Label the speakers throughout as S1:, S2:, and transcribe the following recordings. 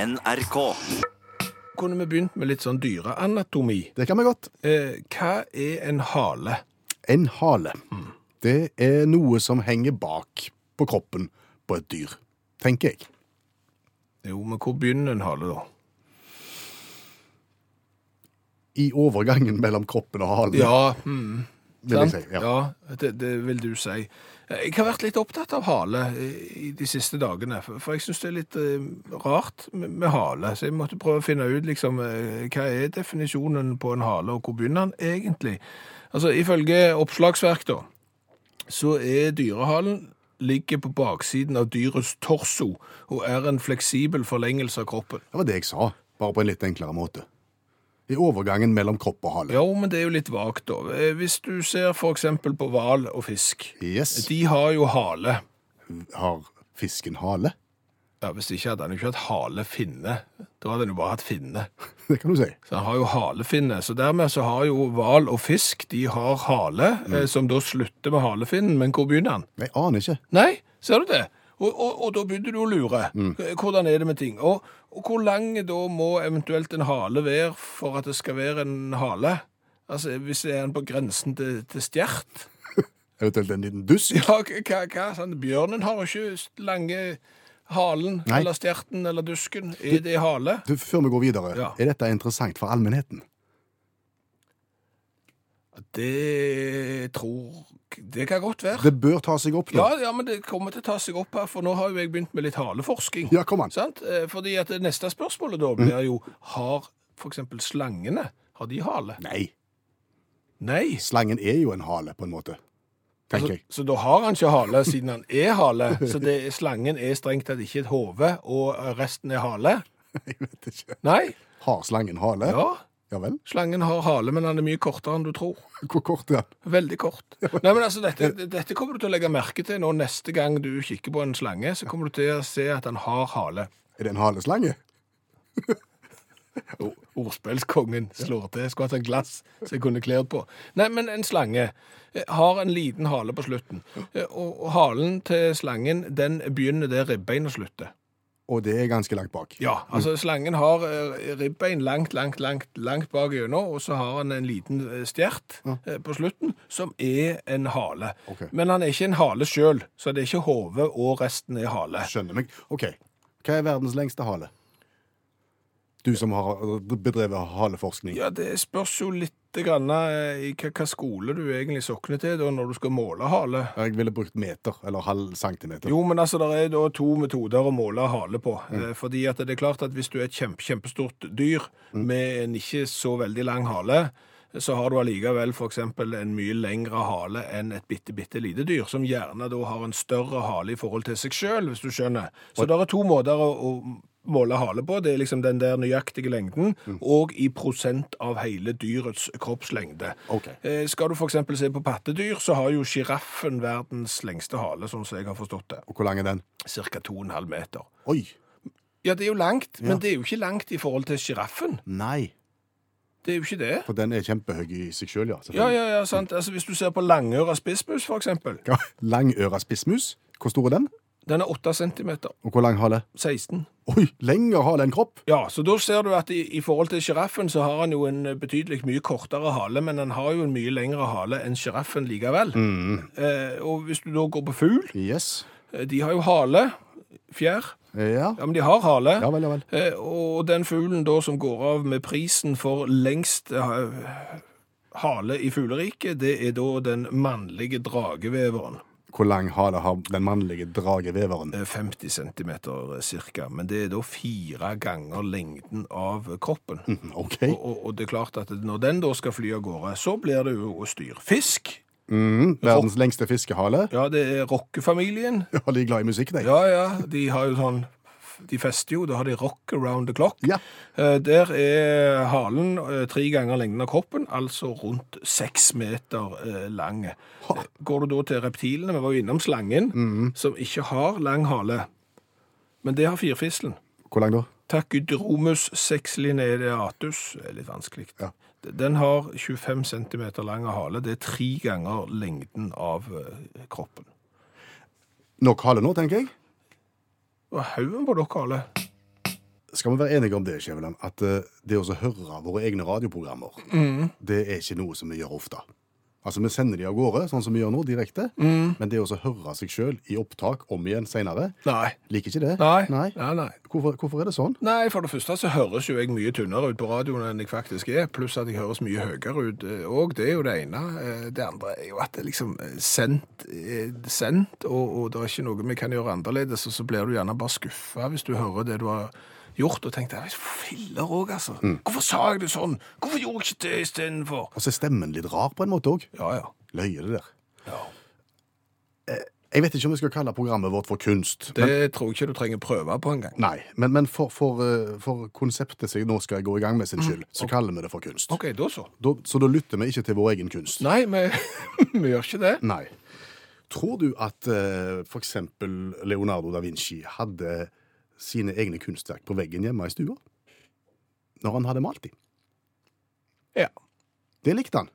S1: NRK.
S2: Kunne vi begynt med litt sånn dyreanatomi?
S3: Det kan vi godt.
S2: Eh, hva er en hale?
S3: En hale. Det er noe som henger bak på kroppen på et dyr, tenker jeg.
S2: Jo, men hvor begynner en hale, da?
S3: I overgangen mellom kroppen og halen,
S2: Ja, mm,
S3: vil jeg si.
S2: sant?
S3: Ja.
S2: Ja, det, det vil du si. Jeg har vært litt opptatt av hale eh, i de siste dagene, for for jeg syns det er litt eh, rart med, med hale. Så jeg måtte prøve å finne ut liksom, eh, hva er definisjonen på en hale, og hvor begynner den egentlig? Altså, Ifølge oppslagsverk, da, så er dyrehalen ligger på baksiden av dyrets torso og er en fleksibel forlengelse av kroppen.
S3: Det var det jeg sa, bare på en litt enklere måte. I overgangen mellom kropp og hale.
S2: Jo, men det er jo litt vagt, da. Eh, Hvis du ser for eksempel på hval og fisk.
S3: Yes.
S2: De har jo hale.
S3: Har fisken hale?
S2: Ja, Hvis ikke hadde han jo ikke hatt halefinne. Da hadde han jo bare hatt finne.
S3: Det kan du si.
S2: Så han har jo halefinne. Så dermed så har jo hval og fisk de har hale,
S3: Mm.
S2: eh, som da slutter med halefinnen. Men hvor begynner han?
S3: Jeg aner ikke.
S2: Nei, ser du det? Og, og, og da begynner du å lure.
S3: Mm.
S2: Eh, Hvordan er det med ting? Og, og hvor lang da må eventuelt en hale være for at det skal være en hale? Altså, Hvis er han på grensen til, til stjert?
S3: Eventuelt en liten duss?
S2: Ja, k- hva, hva, sånn, Bjørnen har jo ikke s- lange halen,
S3: Nei.
S2: eller stjerten, eller dusken. Er det hale?
S3: Du, før vi går videre,
S2: Ja.
S3: er dette interessant for allmennheten?
S2: Det tror Det kan godt være.
S3: Det bør ta seg opp nå.
S2: Ja, ja, men det kommer til å ta seg opp her, for nå har jo jeg begynt med litt haleforsking.
S3: Ja, kom an.
S2: Sant? Eh, Fordi at det neste spørsmålet
S3: Mm.
S2: da blir jo Har f.eks. slangene har de hale?
S3: Nei,
S2: Nei.
S3: slangen er jo en hale, på en måte.
S2: Så,
S3: Tenker jeg.
S2: så da har han ikke hale, siden han er hale. Så det, slangen er strengt tatt ikke et hode, og resten er hale.
S3: Jeg vet ikke.
S2: Nei.
S3: Har slangen hale?
S2: Ja.
S3: Ja vel?
S2: Slangen har hale, men han er mye kortere enn du tror.
S3: Hvor kort er den?
S2: Veldig kort. Nei, men altså, dette, dette kommer du til å legge merke til nå neste gang du kikker på en slange, så kommer du til å se at han har hale.
S3: Er det en haleslange?
S2: O- Ordspillskongen slår til. Skulle hatt et glass som jeg kunne kledd på. Nei, men en slange eh, har en liten hale på slutten. Eh, Og, og halen til slangen, den begynner der ribbeinet slutter.
S3: Og det er ganske langt bak.
S2: Ja, altså slangen har eh, ribbein langt, langt, langt, langt bak øynene, og så har han en liten eh, stjert eh, på slutten, som er en hale.
S3: Ok.
S2: Men han er ikke en hale sjøl, så det er ikke hodet og resten er hale.
S3: Skjønner meg. OK. Hva er verdens lengste hale? Du som har bedrevet haleforskning.
S2: Ja, det spørs jo litt grann, eh, i hva, hva skole du egentlig sokner til da, når du skal måle hale.
S3: Jeg ville brukt meter, eller halv centimeter.
S2: Jo, men altså, det er da to metoder å måle hale på. Eh, Fordi at det er klart at hvis du er et kjempe, kjempestort dyr med en ikke så veldig lang hale, så har du allikevel f.eks. en mye lengre hale enn et bitte, bitte lite dyr, som gjerne da har en større hale i forhold til seg sjøl, hvis du skjønner. Så det er to måter å, å måle hale på. Det er liksom den der nøyaktige lengden, og i prosent av hele dyrets kroppslengde.
S3: Ok.
S2: Eh, Skal du f.eks. se på pattedyr, så har jo sjiraffen verdens lengste hale, sånn som jeg har forstått det.
S3: Og hvor lang er den?
S2: Ca. 2,5 meter.
S3: Oi!
S2: Ja, det er jo langt, men det er jo ikke langt i forhold til sjiraffen.
S3: Nei.
S2: Det er jo ikke det.
S3: For den er kjempehøy i seg sjøl, ja.
S2: Ja, ja, ja, sant. Altså, Hvis du ser på langøra spissmus, for eksempel.
S3: ja. Langøra spissmus. Hvor stor er den?
S2: Den er 8 centimeter.
S3: Og hvor lang hale?
S2: 16.
S3: Oi, lengre hale enn kropp?
S2: Ja, så da ser du at i, i forhold til sjiraffen så har han jo en eh, betydelig mye kortere hale, men han har jo en mye lengre hale enn sjiraffen likevel. Eh, og hvis du da går på fugl,
S3: Yes.
S2: eh, de har jo hale, fjær.
S3: Ja.
S2: Ja, men de har hale.
S3: Ja vel, ja vel.
S2: Eh, Og den fuglen da som går av med prisen for lengst eh, hale i fugleriket, det er da den mannlige drageveveren.
S3: Hvor lang hale har den mannlige drageveveren?
S2: Eh, 50 cm cirka, men det er da fire ganger lengden av kroppen.
S3: OK.
S2: Og, og, og det er klart at når den da skal fly av gårde, så blir det jo styr. Fisk,
S3: Mm, verdens lengste fiskehale.
S2: ja det er rockefamilien.
S3: Ja, de er glad i musikk, de.
S2: Ja, ja, de har jo sånn de fester jo, da har de rock around the clock.
S3: Ja.
S2: Eh, Der er halen eh, tre ganger lengden av kroppen, altså rundt seks meter eh, lang. Eh, Går du da til reptilene, vi var jo innom slangen,
S3: Mm.
S2: som ikke har lang hale, men det har firfislen.
S3: Hvor lang da?
S2: Tachydromus sexlineatus, det er litt vanskelig.
S3: Ja.
S2: Den har 25 cm lang hale, det er tre ganger lengden av eh, kroppen.
S3: Nok hale nå, tenker jeg.
S2: Og haugen på dere, hale.
S3: skal vi være enige om det, Skjæveland, at eh, det å høre våre egne radioprogrammer,
S2: Mm.
S3: det er ikke noe som vi gjør ofte. Altså, Vi sender de av gårde, sånn som vi gjør nå, direkte.
S2: Mm.
S3: Men det å høre seg sjøl i opptak om igjen seinere,
S2: Nei.
S3: liker ikke det.
S2: Nei. Nei, nei.
S3: Hvorfor, hvorfor er det sånn?
S2: Nei, for det første så høres jo jeg mye tynnere ut på radioen enn jeg faktisk er, pluss at jeg høres mye høyere ut òg, det er jo det ene. Eh, Det andre er jo at det liksom eh, sendt, eh, sendt og, og det er ikke noe vi kan gjøre annerledes, og så blir du gjerne bare skuffa hvis du hører det du har gjort, og tenker «Nei, filler òg, altså. Hvorfor sa jeg det sånn? Hvorfor gjorde jeg ikke det istedenfor?
S3: Og så er stemmen litt rar på en måte òg.
S2: Ja, ja.
S3: Løye det der. Eh,
S2: ja.
S3: Jeg vet ikke om vi skal kalle programmet vårt for kunst.
S2: Det tror jeg ikke du trenger prøve på engang.
S3: Nei, men, men for, for, eh, for konseptet som jeg nå skal gå i gang med sin skyld, så kaller vi det for kunst.
S2: Mm, OK, da så.
S3: Da, så da lytter vi ikke til vår egen kunst.
S2: Nei, vi, vi gjør ikke det.
S3: Nei. Tror du at eh, for eksempel Leonardo da Vinci hadde sine egne kunstverk på veggen hjemme i stua? Når han hadde malt dem?
S2: Ja.
S3: Det likte han.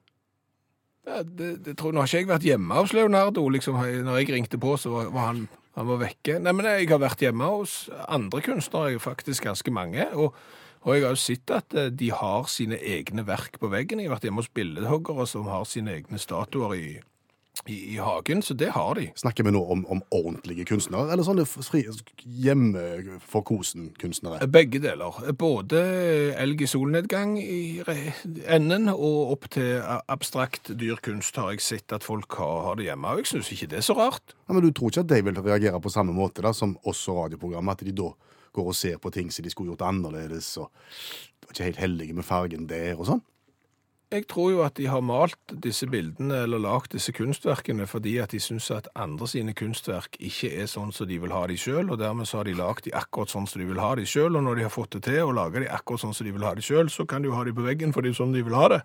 S2: Ja, det, det tror, nå har ikke jeg vært hjemme hos Leonardo. Liksom, når jeg ringte på, så var, var han, han var vekke. Nei, men jeg har vært hjemme hos andre kunstnere, jeg er faktisk ganske mange. Og, og jeg har jo sett at eh, de har sine egne verk på veggen. Jeg har vært hjemme hos billedhoggere som har sine egne statuer i, i, i hagen, så det har de.
S3: Snakker vi nå om, om ordentlige kunstnere, eller sånne fri, hjemme-for-kosen-kunstnere?
S2: Begge deler. Både elg i solnedgang i re- enden, og opp til a- abstrakt dyrkunst har jeg sett at folk har, har det hjemme. Og jeg syns ikke det er så rart.
S3: Ja, men du tror ikke at de vil reagere på samme måte da, som oss og radioprogrammet, at de da går og ser på ting som de skulle gjort annerledes, og var ikke helt heldige med fargen der og sånn?
S2: Jeg tror jo at de har malt disse bildene eller lagd disse kunstverkene fordi at de syns at andre sine kunstverk ikke er sånn som de vil ha de sjøl, og dermed så har de lagd de akkurat sånn som de vil ha de sjøl, og når de har fått det til og laga de akkurat sånn som de vil ha de sjøl, så kan de jo ha de på veggen fordi det er sånn de vil ha det.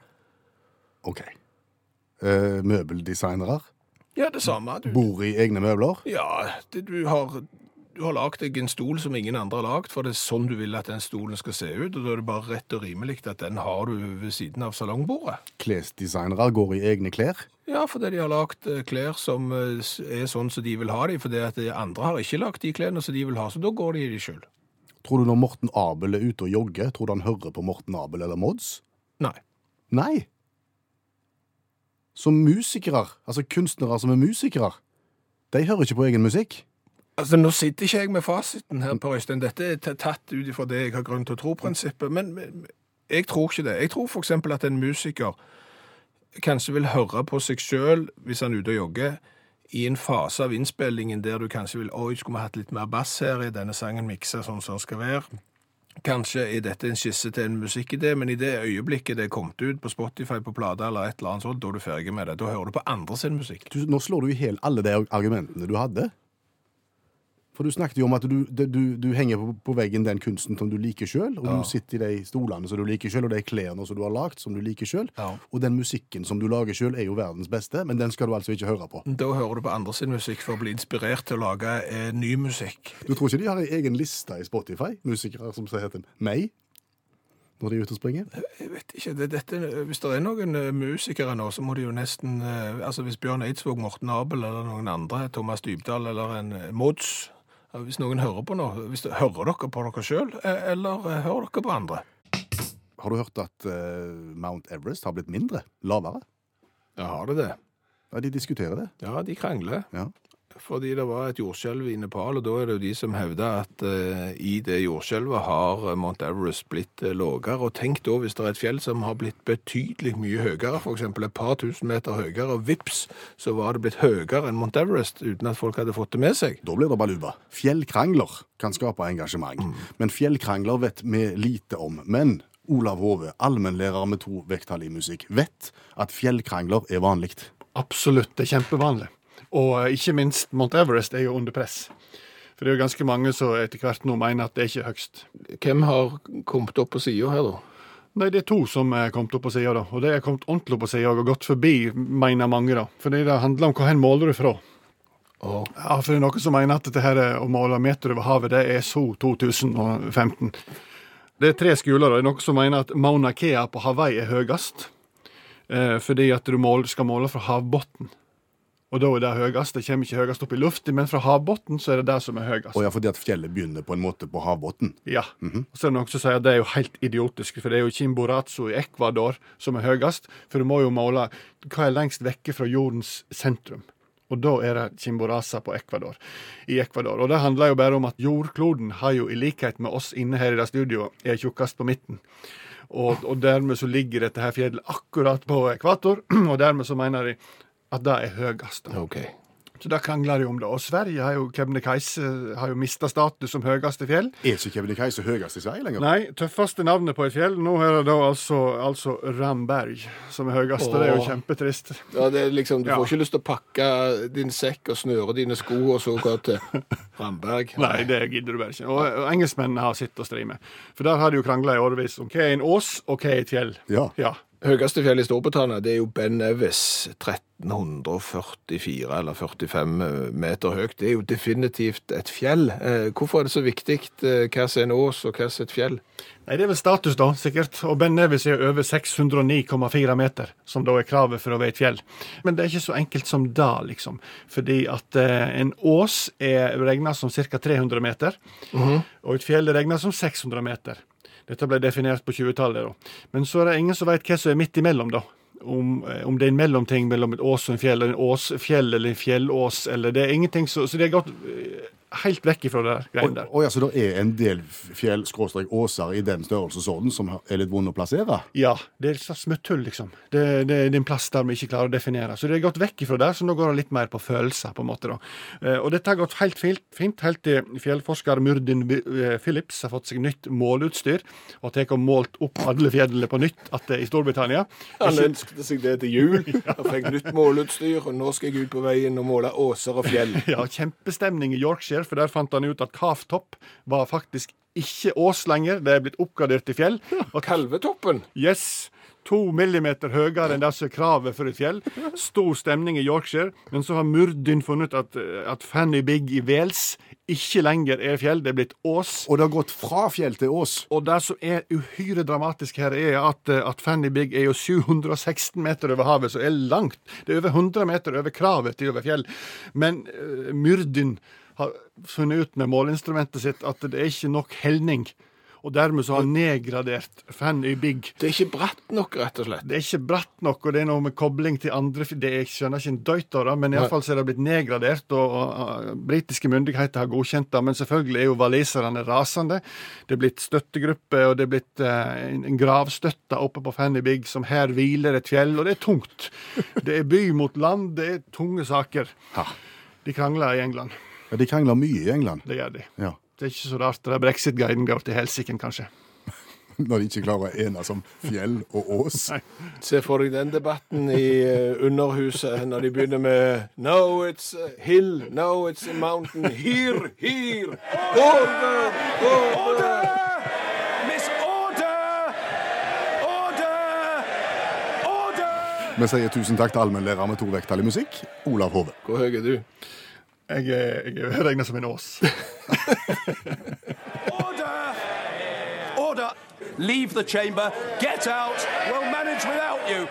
S3: Ok. Eh, møbeldesignere
S2: Ja, det samme. Du,
S3: bor i egne møbler.
S2: ja, det, du har, du har lagd deg en stol som ingen andre har lagd, for det er sånn du vil at den stolen skal se ut, og da er det bare rett og rimelig at den har du ved siden av salongbordet.
S3: Klesdesignere går i egne klær.
S2: Ja, fordi de har lagt eh, klær som eh, s- er sånn som de vil ha dem, fordi at de andre har ikke lagt de klærne som de vil ha, så da går de i de sjøl.
S3: Tror du når Morten Abel er ute og jogger, tror du han hører på Morten Abel eller Mods?
S2: Nei.
S3: Nei. Som musikere, altså kunstnere som er musikere, de hører ikke på egen musikk.
S2: Altså, Nå sitter ikke jeg med fasiten her, Per Øystein. Dette er t- tatt ut ifra det jeg har grunn til å tro-prinsippet, men men jeg tror ikke det. Jeg tror f.eks. at en musiker kanskje vil høre på seg sjøl hvis han er ute og jogger, i en fase av innspillingen der du kanskje vil Oi, skulle vi hatt litt mer bass her? Er denne sangen miksa sånn som den skal være? Kanskje er dette en skisse til en musikkidé, men i det øyeblikket det er kommet ut på Spotify, på plate eller et eller annet sånt, da er du ferdig med det. Da hører du på andre sin musikk.
S3: du, nå slår du i hjel alle de argumentene du hadde. For du snakket jo om at du, det- du, du henger på, på veggen den kunsten som du liker sjøl, og du sitter i de stolene som du liker sjøl, og de klærne som du har lagd som du liker sjøl.
S2: Ja.
S3: Og den musikken som du lager sjøl, er jo verdens beste, men den skal du altså ikke høre på.
S2: Da hører du på andre sin musikk for å bli inspirert til å lage eh, ny musikk.
S3: Du tror ikke de har ei egen liste i Spotify, musikere som heter meg, når de er ute og springer?
S2: Jeg vet ikke, det, dette, Hvis det er noen eh, musikere nå, så må de jo nesten eh, altså Hvis Bjørn Eidsvåg, Morten Abel eller noen andre, Thomas Dybdahl eller en eh, Mods eh, Hvis noen hører på nå, hvis det, hører dere på dere sjøl, eller eh, hører dere på andre?
S3: Har du hørt at eh, Mount Everest har blitt mindre? Lavere?
S2: Ja, har de det?
S3: Ja, de diskuterer det.
S2: Ja, de krangler.
S3: Ja.
S2: Fordi det var et jordskjelv i Nepal, og da er det jo de som hevder at eh, i det jordskjelvet har eh, Mount Everest blitt eh, lågere. Og tenk da hvis det er et fjell som har blitt betydelig mye høyere, f.eks. et par tusen meter høyere, og vips, så var det blitt høyere enn Mount Everest uten at folk hadde fått det med seg.
S3: Da blir det baluba. Fjellkrangler kan skape engasjement, men fjellkrangler vet vi lite om. Men Olav Hove, allmennlærer med to vekttall i musikk, vet at fjellkrangler er vanlig.
S1: Absolutt, det er kjempevanlig. Og eh, ikke minst Mount Everest er jo under press. For det er jo ganske mange som etter hvert nå mener at det er ikke høgst.
S2: Hvem har kommet opp på sida her, da?
S1: Nei, det er to som er kommet opp på sida, da. Og det er kommet ordentlig opp på sida og gått forbi, mener mange, da. Fordi det handler om hvor hen måler du fra.
S2: Og
S1: Ja, for det er noen som mener at dette her eh, å måle meter over havet, det er så 2015. Det er tre skoler. da. Det er noen som mener at Mauna Kea på Hawaii er høyest. Eh, fordi at du mål, skal måle fra havbunnen. Og Og da er det høyest. Det kommer ikke høyest opp i lufta, men fra havbunnen så er det det som er høyest.
S3: Og ja, fordi at fjellet begynner på en måte på havbunnen.
S1: Ja. Og så er det noen som sier at det er jo helt idiotisk, for det er jo Chimborazo i Ecuador som er høyest. For du må jo måle hva er lengst vekke fra jordens sentrum. Og da er det Chimboraza på Ecuador, i Ecuador. Og det handler jo bare om at jordkloden har jo, i likhet med oss inne her i det studioet, er tjukkest på midten. Og, og dermed så ligger dette her fjellet akkurat på ekvator, og dermed så mener de at det er høyest. da.
S2: OK.
S1: Så det krangler de om det. Og Sverige har jo Kebnekaise har jo mista status som høyeste fjell.
S3: Er ikke Kebnekaise høyest i Sverige lenger?
S1: Nei, tøffeste navnet på et fjell. Nå er det da altså, altså Ramberg som er høyest. og Det er jo
S4: Åh.
S1: kjempetrist.
S4: Ja, det er liksom, du
S1: Ja.
S4: får ikke lyst til å pakke din sekk og snøre dine sko og så gå til Ramberg.
S1: Nei, det gidder du bare ikke. Og, og engelskmennene har sitt å stri med. For der har de jo krangla i årevis om hva er en ås, og hva er et fjell.
S3: Ja.
S1: Ja.
S4: Høyeste fjell i Storbritannia det er jo Ben Nevis, 1344 eller 45 meter høyt. Det er jo definitivt et fjell. Eh, Hvorfor er det så viktig eh, hva som er en ås og hva som er et fjell?
S1: Nei, Det er vel status, da, sikkert. Og Ben Nevis er over 609,4 meter, som da er kravet for å være et fjell. Men det er ikke så enkelt som det, liksom. Fordi at eh, en ås er regna som ca. 300 meter, og et fjell er regna som 600 meter. Dette ble definert på 20-tallet, da. Men så er det ingen som veit hva som er midt imellom, da. Om, eh, om det er en mellomting mellom et ås og en fjell, eller en åsfjell eller en fjellås, eller det er ingenting så Så det er gått eh, helt vekk ifra det der
S3: Og,
S1: greiene der.
S3: og ja, så det er en del fjell-åser i den størrelsesorden som er litt vond å plassere?
S1: Ja, det er et slags smutthull, liksom. Det, det er en plass der vi ikke klarer å definere. Så det er gått vekk ifra der, så nå går det litt mer på følelser, på en måte, da. Eh, Og dette har gått helt fint, fint helt til fjellforsker Murdin Bi- eh, Phillips har fått seg nytt måleutstyr, og har tatt og målt opp alle fjellene på nytt at det er i Storbritannia.
S4: Han ønsket seg det til jul. Han fikk nytt måleutstyr, og nå skal jeg ut på veien og måle åser og fjell.
S1: Ja, kjempestemning i Yorkshire, for der fant han ut at Kaftopp var faktisk ikke ås lenger, det er blitt oppgradert til fjell. Og
S4: Kalvetoppen.
S1: Yes! To millimeter høyere enn det som er kravet for et fjell. Stor stemning i Yorkshire. Men så har Murdyn funnet at, at Fanny Big i Wales ikke lenger er fjell, det er blitt ås.
S3: Og det har gått fra fjell til ås.
S1: Og det som er uhyre dramatisk her, er at, at Fanny Big er jo 716 meter over havet, så er langt. Det er over 100 meter over kravet til over fjell. Men uh, Myrdin har funnet ut med måleinstrumentet sitt at det er ikke nok helning. Og dermed så har han nedgradert Fanny Big.
S4: Det er ikke bratt nok, rett og slett.
S1: Det er ikke bratt nok, og det er noe med kobling til andre fi- det, Jeg skjønner ikke en døyt av det, men iallfall er det blitt nedgradert, og, og, og britiske myndigheter har godkjent det. Men selvfølgelig er jo waliserne rasende. Det er blitt støttegruppe, og det er blitt eh, en- en gravstøtte oppe på Fanny Big, som her hviler et fjell, og det er tungt. Det er by mot land, det er tunge saker.
S3: Ja.
S1: De krangler i England.
S3: Ja, de krangler mye i England.
S1: Det gjør de.
S3: Ja.
S1: Det er ikke så rart. det er Brexit-guiden går til helsiken, kanskje.
S3: Når de ikke klarer å enes om fjell og ås.
S1: Nei.
S4: Se for deg den debatten i eh, Underhuset når de begynner med No, it's a hill. No, it's a mountain. Here, here. Order, order.
S2: Miss order! Order! Order!
S3: Vi sier tusen takk til allmennlærer med to vekttall i musikk, Olav Hove.
S4: Hvor høy er du?
S1: Jeg, er- jeg er regna som en ås.
S2: Order! Order! Leave the chamber. Get out. We'll manage without you.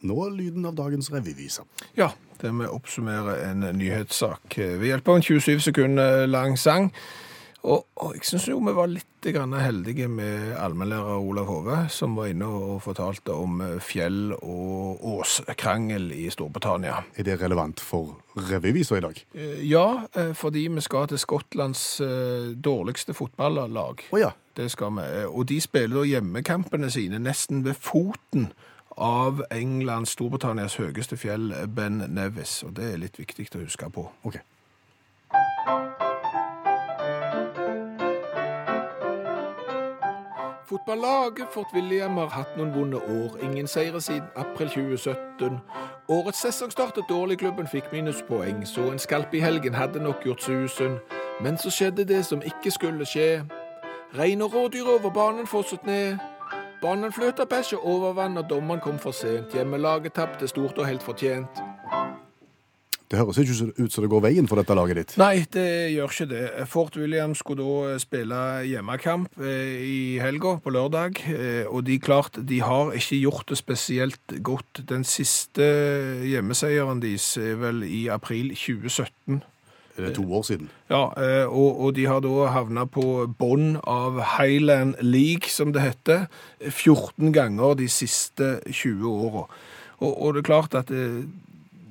S3: Nå er lyden av dagens revyvise.
S2: Ja, det med å oppsummere en nyhetssak eh, ved hjelp av en 27 sekunder lang sang. Og, og jeg syns jo vi var litt grann heldige med allmennlærer Olav Hove, som var inne og fortalte om eh, fjell- og åskrangel i Storbritannia.
S3: Er det relevant for revyvisa i dag?
S2: Eh, Ja, eh, fordi vi skal til Skottlands eh, dårligste fotballag.
S3: Å ja.
S2: Det skal vi. Eh, Og de spiller da hjemmekampene sine nesten ved foten av Englands, Storbritannias høyeste fjell, Ben Nevis. Og det er litt viktig å huske på.
S3: OK.
S4: Fotballaget Fort William har hatt noen vonde år. Ingen seire siden april 2017. Årets sesong startet dårlig, klubben fikk minuspoeng, så en skalp i helgen hadde nok gjort susen. Men så skjedde det som ikke skulle skje. Rein og rådyr over banen fosset ned. Banen fløt av bæsj og overvann, og dommeren kom for sent. Hjemmelaget tapte stort og helt fortjent.
S3: Det høres ikke så- ut som det går veien for dette laget ditt.
S2: Nei, det gjør ikke det. Fort William skulle da eh, spille hjemmekamp eh, i helga, på lørdag. eh, Og de klart, de har ikke gjort det spesielt godt. Den siste eh, hjemmeseieren deres er vel i april 2017.
S3: Er det to år siden?
S2: Ja, eh, og, og de har da havna på bånn av Highland League, som det heter, 14 ganger de siste 20 åra. Og, og det er klart at eh,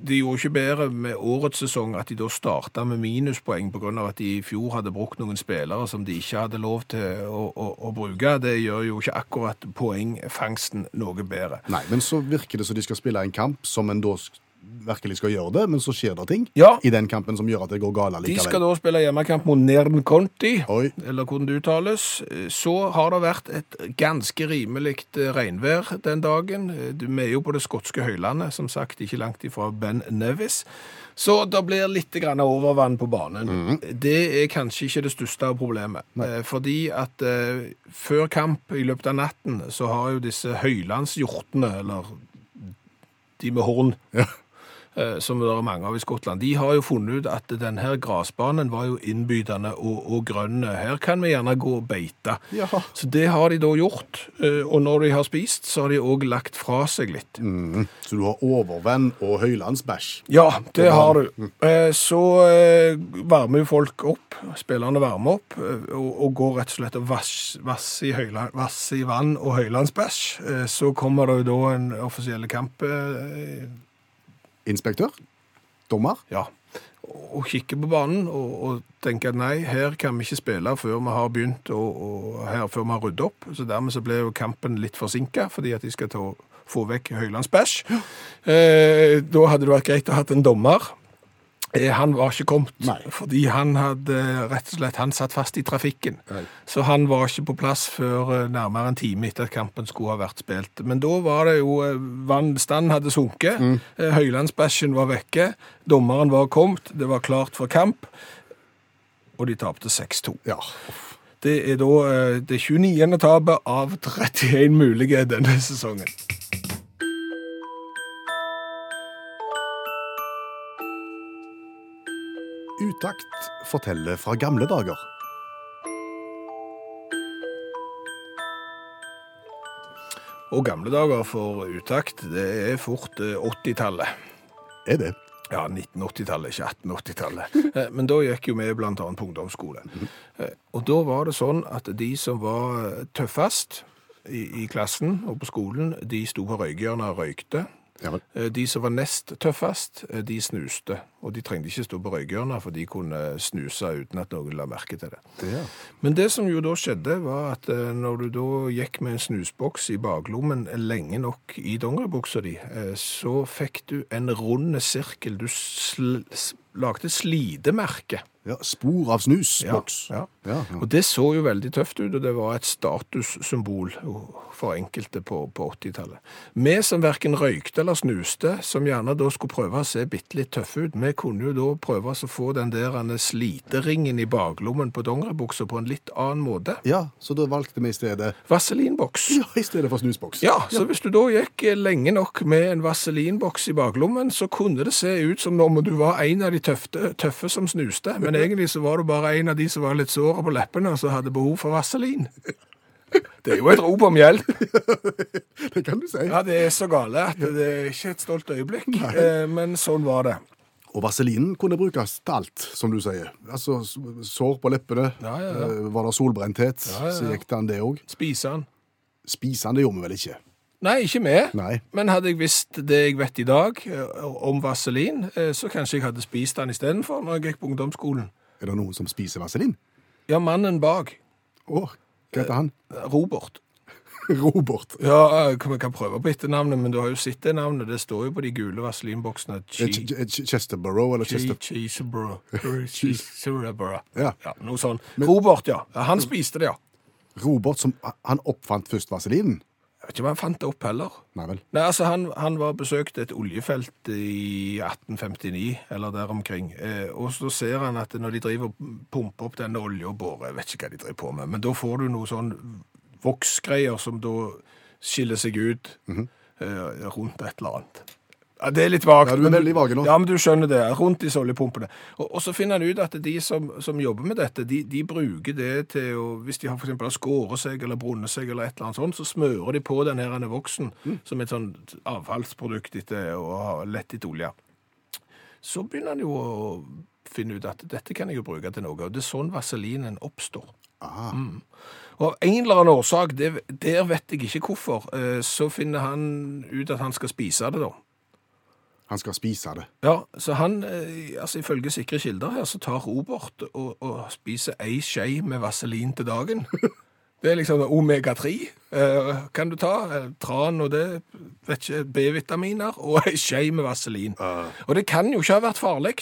S2: de gjorde ikke bedre med årets sesong at de da starta med minuspoeng pga. at de i fjor hadde brukt noen spillere som de ikke hadde lov til å, å, å bruke. Det gjør jo ikke akkurat poengfangsten noe bedre.
S3: Nei, men så virker det som de skal spille en kamp som en da sk- virkelig skal gjøre det, men så skjer det ting
S2: Ja.
S3: i den kampen som gjør at det går galt
S2: De
S3: likevel.
S2: skal da spille hjemmekamp mot Nern Conti.
S3: Oi.
S2: eller hvordan det uttales, så har det vært et ganske rimelig eh, regnvær den dagen. Vi er jo på det skotske høylandet, som sagt, ikke langt ifra Ben Nevis. Så det blir litt grann overvann på banen. Det er kanskje ikke det største av problemet. Eh, Fordi at eh, før kamp i løpet av natten, så har jo disse høylandshjortene, eller de med horn, eh, som det er mange av i Skottland, de har jo funnet ut at denne grasbanen var jo innbydende og, og grønn. Her kan vi gjerne gå og beite.
S3: Ja.
S2: Så det har de da gjort, eh, og når de har spist, så har de òg lagt fra seg litt.
S3: Mhm. Så du har overvenn og høylandsbæsj.
S2: Ja, det har du. Eh, Så eh, varmer jo folk opp, spillerne varmer opp, eh, og, og går rett og slett og vasser vass i, høyla- vass i vann og høylandsbæsj. Eh, Så kommer det jo da en offisiell kamp, eh,
S3: Inspektør? Dommer?
S2: ja, og og kikker på banen og, og tenker at nei, her kan vi ikke spille før vi har begynt, og, og her før vi har ryddet opp. Så dermed så ble jo kampen litt forsinket, fordi at de skal ta, få vekk høylandsbæsj. Eh, da hadde det vært greit å ha hatt en dommer. Eh, Han var ikke kommet,
S3: Nei.
S2: fordi han hadde eh, rett og slett han satt fast i trafikken.
S3: Nei.
S2: Så han var ikke på plass før eh, nærmere en time etter at kampen skulle ha vært spilt. Men da var det jo eh, vannstanden hadde sunket, eh, høylandsbæsjen var vekke, dommeren var kommet, det var klart for kamp, og de tapte 6-2.
S3: Ja.
S2: Det er da eh, det 29. tapet av 31 mulige denne sesongen.
S3: Utakt forteller fra gamle dager.
S2: Og gamle dager for utakt, det er fort eh, 80-tallet.
S3: Er det?
S2: Ja, 1980-tallet, ikke 1880-tallet. Eh, Men da gikk jo vi bl.a. på ungdomsskole. Eh, Og da var det sånn at de som var eh, tøffest i, i klassen og på skolen, de sto på røykehjørnet og røykte.
S3: Ja vel.
S2: Eh, De som var nest tøffest, eh, de snuste. Og de trengte ikke stå på røykehjørnet, for de kunne snuse uten at noen la merke til det.
S3: Ja.
S2: Men det som jo da skjedde, var at eh, når du da gikk med en snusboks i baklommen lenge nok i dongeribuksa di, eh, så fikk du en rund sirkel. Du sl s- lagde slidemerke.
S3: ja. Spor av snus.
S2: Ja,
S3: boks.
S2: ja.
S3: Ja, ja.
S2: Og det så jo veldig tøft ut, og det var et statussymbol oh, for enkelte på, på 80-tallet. Vi som verken røykte eller snuste, som gjerne da skulle prøve å se bitte litt tøffe ut, vi kunne jo da prøve å få den der ene sliteringen i baklommen på dongeribuksa på en litt annen måte.
S3: ja, så da valgte vi i stedet
S2: Vaselinboks.
S3: Ja, i stedet for snusboks.
S2: Ja, så hvis du da gikk eh, lenge nok med en vaselinboks i baklommen, så kunne det se ut som om du var en av de tøfte, tøffe som snuste, men egentlig så var du bare en av de som var litt såre på leppene, og som hadde behov for vaselin. Det er jo et rop om hjelp.
S3: Det kan du si.
S2: Ja, det er så gale at det er ikke et stolt øyeblikk, eh, men sånn var det.
S3: Og vaselinen kunne brukes til alt, som du sier. Altså s- sår på leppene,
S2: Ja, ja, ja.
S3: eh, var det solbrenthet,
S2: ja,
S3: så
S2: ja.
S3: gikk det an det òg.
S2: Spise den.
S3: Spisende gjorde vi vel ikke.
S2: Nei, ikke med.
S3: Nei.
S2: Men hadde jeg visst det jeg vet i dag eh, om vaselin, eh, så kanskje jeg hadde spist den istedenfor når jeg gikk på ungdomsskolen.
S3: Er det noen som spiser vaselin?
S2: Ja, mannen bak,
S3: Å, hva
S2: Eh,
S3: heter han?
S2: Robert.
S3: Robert.
S2: Ja, vi kan prøve på etternavnet, men du har jo sett det navnet. Det står jo på de gule vaselinboksene.
S3: Eh, Ch-
S2: Che-
S3: Ch- Ch- Chesterborough, eller Chester...
S2: Che- Cheeseborough. Cheeseborough.
S3: Ja.
S2: Ja, noe sånn. Robert, ja. Ja, Han spiste det, ja.
S3: Robert som Han oppfant først vaselinen?
S2: Jeg vet ikke om han fant det opp heller.
S3: Nei vel.
S2: Nei, altså Han, han var besøkt et oljefelt i 1859, eller der omkring. Eh, og så ser han at når de driver og pumper opp denne olja og bårer Jeg vet ikke hva de driver på med, men da får du noe sånn voksgreier som da skiller seg ut eh, rundt et eller annet. Ja, det er litt vagt.
S3: Ja, du er veldig vage nå.
S2: Ja, men du skjønner det. Rundt disse oljepumpene. Og, og så finner han ut at de som, som jobber med dette, de, de bruker det til å Hvis de har for eksempel har skåret seg eller brunnet seg eller et eller annet sånt, så smører de på den her denne voksen
S3: Mm.
S2: som et sånn avfallsprodukt etter å ha lett litt olje. Så begynner han jo å finne ut at dette kan jeg jo bruke til noe. Og det er sånn vaselinen oppstår. Mm.
S3: Ah,
S2: Og av en eller annen årsak, det, der vet jeg ikke hvorfor, eh, så finner han ut at han skal spise det, da.
S3: han skal spise det.
S2: Ja, så han, eh, altså ifølge sikre kilder her, så tar Robert og, og spiser ei skje med vaselin til dagen. Det er liksom omega-3. Eh, kan du ta eh, tran og det, vet ikke, B-vitaminer og ei skje med vaselin.
S3: Ah.
S2: Og det kan jo ikke ha vært farlig.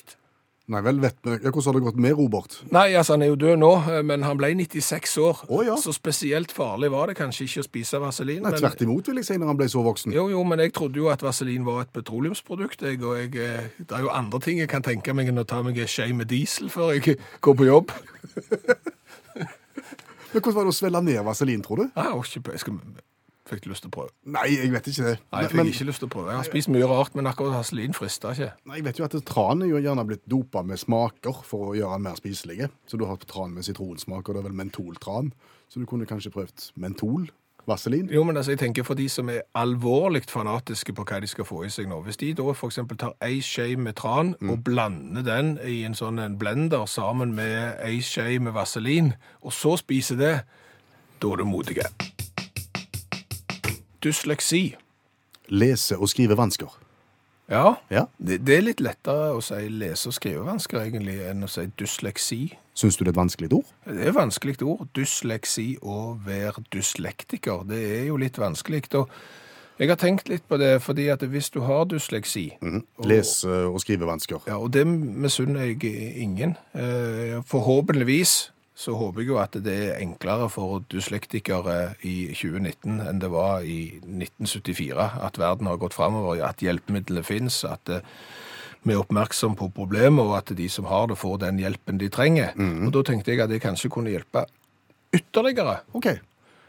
S3: Nei vel, vet vi ja, Hvordan har det gått med Robert?
S2: Nei, altså han er jo død nå, eh, men han ble 96 år.
S3: Å, ja.
S2: Så spesielt farlig var det kanskje ikke å spise vaselin.
S3: Nei,
S2: men-
S3: Tvert imot, vil jeg si, når han ble så voksen.
S2: Jo, jo, men jeg trodde jo at vaselin var et petroleumsprodukt, jeg, og jeg, eh, det er jo andre ting jeg kan tenke meg enn å ta meg en skje med diesel før jeg går på jobb.
S3: Men Hvordan var det å svelge ned vaselin, tror du?
S2: Ah, Jeg, har ikke, jeg skal, fikk lyst til å prøve.
S3: Nei, jeg vet ikke det.
S2: Nei, jeg fikk
S3: men,
S2: ikke lyst til å prøve. Jeg har spist mye rart, men akkurat vaselin frister ikke.
S3: nei, jeg vet jo at tran er jo gjerne blitt dopa med smaker for å gjøre den mer spiselig. Så du har tran med sitronsmak, og det er vel mentoltran. Så du kunne kanskje prøvd mentol? Vaselin?
S2: Jo, men altså, jeg tenker for de som er alvorlig fanatiske på hva de skal få i seg nå. Hvis de da for eksempel tar ei skje med tran og blander den i en sånn en blender sammen med ei skje med vaselin, og så spiser det, da er du modige. Dysleksi.
S3: Lese- og skrivevansker.
S2: Ja,
S3: Ja.
S2: det, det er litt lettere å si lese- og skrivevansker egentlig enn å si dysleksi.
S3: Syns du det er et vanskelig ord?
S2: Det er vanskelig ord. Dysleksi og være dyslektiker. Det er jo litt vanskelig. Og jeg har tenkt litt på det, fordi at hvis du har dysleksi
S3: Mhm. Lese- og skrivevansker.
S2: ja, Og det misunner jeg ingen. Eh, Forhåpentligvis så håper jeg jo at det er enklere for dyslektikere i 2019 enn det var i 1974. At verden har gått framover, at hjelpemidlene fins, at eh, vi er oppmerksom på problemet, og at de som har det, får den hjelpen de trenger. Og Da tenkte jeg at det kanskje kunne hjelpe ytterligere.
S3: OK.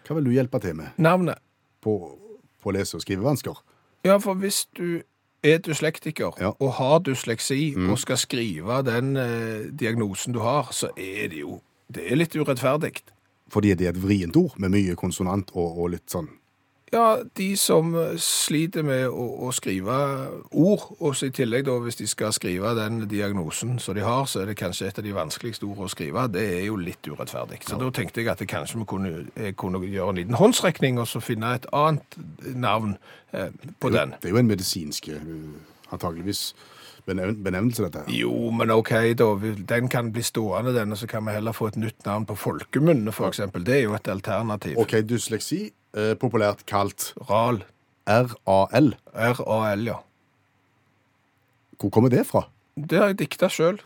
S3: Hva vil du hjelpe til med
S2: Navnet
S3: på, på lese- og skrivevansker?
S2: Ja, for hvis du er dyslektiker
S3: Ja. Mm.
S2: og har dysleksi og skal skrive den eh, diagnosen du har, så er det jo det er litt urettferdig.
S3: Fordi det er et vrient ord med mye konsonant og, og litt sånn
S2: Ja, de som eh, sliter med å, å skrive ord, og så i tillegg da hvis de skal skrive den diagnosen som de har, så er det kanskje et av de vanskeligste ordene å skrive. Det er jo litt urettferdig. Så da tenkte jeg at jeg kanskje vi kunne, jeg kunne gjøre en liten håndsrekning og så finne et annet navn eh, på den.
S3: Det er jo en medisinsk eh, antageligvis benevn, benevnelse, dette. her.
S2: Jo, men OK, da. vi- Den kan bli stående, den, og så kan vi heller få et nytt navn på folkemunne, f.eks. Det er jo et alternativ.
S3: OK, dysleksi. Eh, populært kalt
S2: RAL.
S3: RAL.
S2: R-A-L, ja.
S3: Hvor kommer det fra?
S2: Det har jeg dikta sjøl.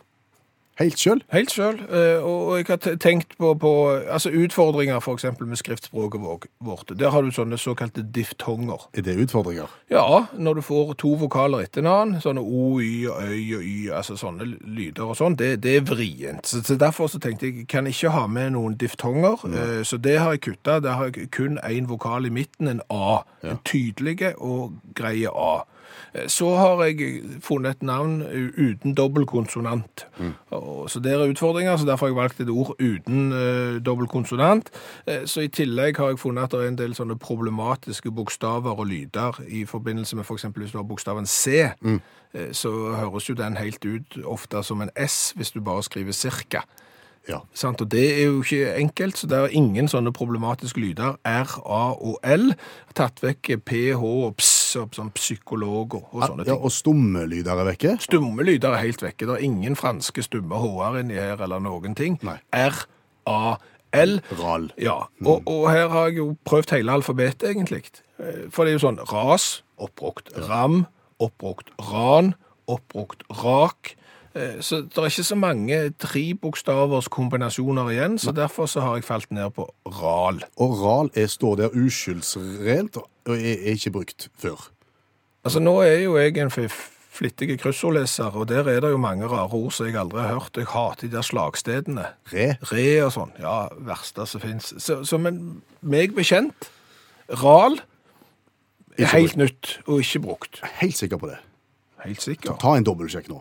S3: Helt sjøl?
S2: Helt sjøl. Og og jeg har te- tenkt på, på altså utfordringer f.eks. med skriftspråket våg- vårt. Der har du sånne såkalte diftonger.
S3: Er det utfordringer?
S2: Ja, når du får to vokaler etter en annen, sånne O, Y, og Øy og Y, altså sånne lyder og sånn, det, det er vrient. Så, så derfor så tenkte jeg, kan ikke ha med noen diftonger, eh, så det har jeg kuttet. Der har jeg kun en vokal i midten, en A. En tydelige og greie A. Eh, Så har jeg funnet et navn u- uten dobbelt konsonant. Og- Så der er utfordringer, så derfor har jeg valgt et ord uten eh, dobbelt konsonant. Eh, så i tillegg har jeg funnet at det er en del sånne problematiske bokstaver og lyder i forbindelse med f.eks. hvis du har bokstaven C, eh, så høres jo den helt ut ofte som en S hvis du bare skriver cirka.
S3: Ja.
S2: Sant? Og det er jo ikke enkelt, så det er ingen sånne problematiske lyder. R, A og L. Tatt vekk PH og PS, og sånn psykolog og, og sånne
S3: ja,
S2: ting.
S3: og stumme lyder er vekke?
S2: Stumme lyder er helt vekke. Det er ingen franske stumme H-er inni her eller noen ting.
S3: Nei.
S2: R, A, L.
S3: RAL.
S2: Ja, og, og her har jeg jo prøvd hele alfabetet, egentlig. Eh, For det er jo sånn ras, oppbrukt ram, oppbrukt ran, oppbrukt rak. Eh, Så det er ikke så mange trebokstavers kombinasjoner igjen, så derfor så har jeg falt ned på ral.
S3: Og RAL er, står der uskyldsrent og er, er ikke brukt før.
S2: Altså, nå er jo jeg en f- flittig kryssordleser, og der er det jo mange rare ord som jeg aldri har hørt. Jeg hater de der slagstedene.
S3: Re.
S2: Re og sånn. Ja, verste som fins. Så, så men meg bekjent, ral er
S3: Ikke
S2: helt nytt og ikke brukt.
S3: Helt sikker på det.
S2: Helt sikkert.
S3: Ta en dobbeltsjekk nå.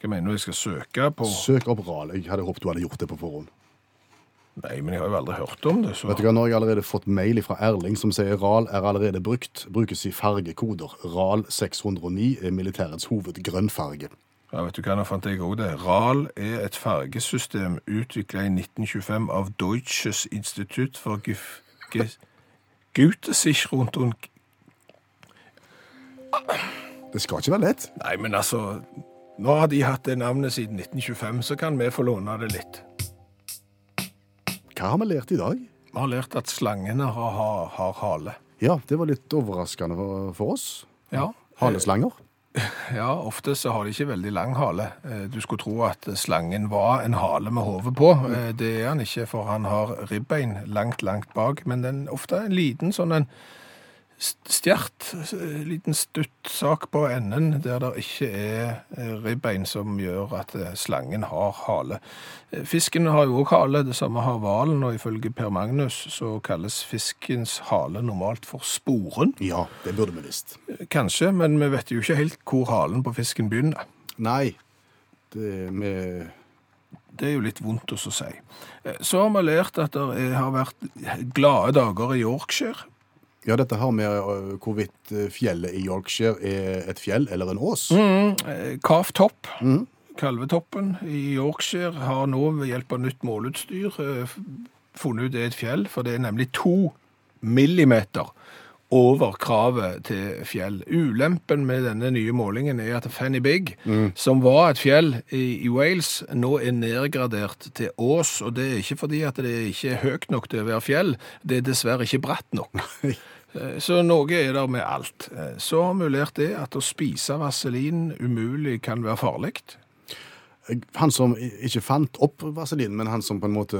S2: Hva mener du jeg skal søke på?
S3: Søk opp RAL. Jeg hadde håpet du hadde gjort det på forhånd.
S2: Nei, men jeg har jo aldri hørt om det, så
S3: Vet du hva, Nå har jeg allerede fått mail fra Erling som sier RAL er allerede brukt. Brukes i fargekoder. RAL 609 er militærets hovedgrønnfarge.
S2: Ja, vet du hva, nå fant jeg også det. RAL er et fargesystem utviklet i 1925 av Deutsches Institut for Gef- Ge- Gütesicherung und...
S3: Det skal ikke være lett.
S2: Nei, men altså, nå har de hatt det navnet siden 1925, så kan vi få låne det litt.
S3: Hva har vi lært i dag?
S2: Vi har lært at slangene har, har, har hale.
S3: Ja, det var litt overraskende for- for oss.
S2: Ja.
S3: Haleslanger.
S2: Ja, ofte så har de ikke veldig lang hale. Eh, Du skulle tro at slangen var en hale med hodet på. Eh, Det er han ikke, for han har ribbein langt, langt bak, men den ofte en liten sånn en st- stjert, s- eh, liten stuttsak på enden, der det ikke er eh, ribbein som gjør at eh, slangen har hale. Eh, Fisken har jo også hale, det samme har hvalen, og ifølge Per Magnus så kalles fiskens hale normalt for sporen.
S3: Ja, det burde vi visst.
S2: Kanskje, men vi vet jo ikke helt hvor halen på fisken begynner.
S3: Nei, det med
S2: Det er jo litt vondt også å si. Eh, Så har vi lært at det er- har vært glade dager i Yorkshire.
S3: Ja, dette her med ø, hvorvidt ø, fjellet i Yorkshire er et fjell eller en ås.
S2: Eh, Calf Top, Kalvetoppen i Yorkshire, har nå ved hjelp av nytt måleutstyr eh, f- funnet ut det er et fjell, for det er nemlig to millimeter over kravet til fjell. Ulempen med denne nye målingen er at Fanny Big, som var et fjell i, i Wales, nå er nedgradert til ås, og det er ikke fordi at det ikke er høyt nok til å være fjell, det er dessverre ikke bratt nok. Eh, Så noe er der med alt. Eh, Så har vi lært det at å spise vaselin umulig kan være farlig.
S3: Han som i- ikke fant opp vaselin, men han som på en måte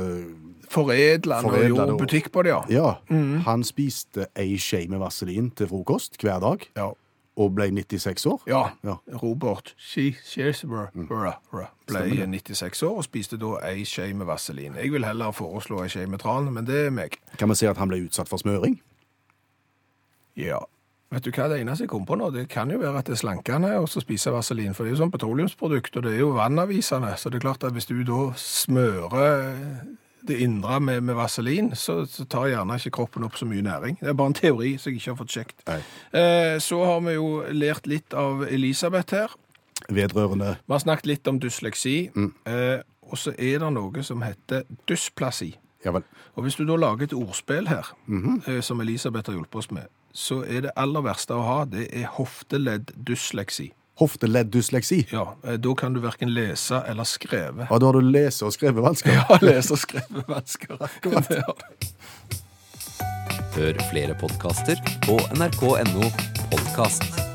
S2: Foredla og
S3: Foredla
S2: gjorde
S3: det, og-
S2: butikk på det, ja.
S3: Ja, han spiste ei skje med vaselin til frokost hver dag,
S2: Ja.
S3: og ble 96 år.
S2: ja.
S3: Ja. Mm.
S2: Robert She- Shesbrough ble 96 år og spiste da ei skje med vaselin. Jeg vil heller foreslå ei skje med tran, men det er meg.
S3: Kan man si at han ble utsatt for smøring?
S2: Ja. Vet du hva det eneste jeg kom på nå? Det kan jo være at det er slankende å spise vaselin, for det er jo sånn petroleumsprodukt, og det er jo vannavvisende. Så det er klart at hvis du da smører eh, det indre med, med vaselin, så, så tar gjerne ikke kroppen opp så mye næring. Det er bare en teori som jeg ikke har fått sjekt.
S3: Nei.
S2: Eh, så har vi jo lært litt av Elisabeth her.
S3: Vedrørende
S2: Vi har snakket litt om dysleksi, eh, og så er det noe som heter dysplasi.
S3: Ja vel.
S2: Og hvis du da lager et ordspill her, eh, som Elisabeth har hjulpet oss med, så er det aller verste å ha, det er hofteledddysleksi.
S3: Hofteleddysleksi.
S2: Ja, eh, da kan du hverken lese eller skreve.
S3: Ja, da har du lese- og skrevevansker.
S2: Ja, lese- og skrevevansker. Det har du.
S5: Hør flere podkaster på nrk.no podkast.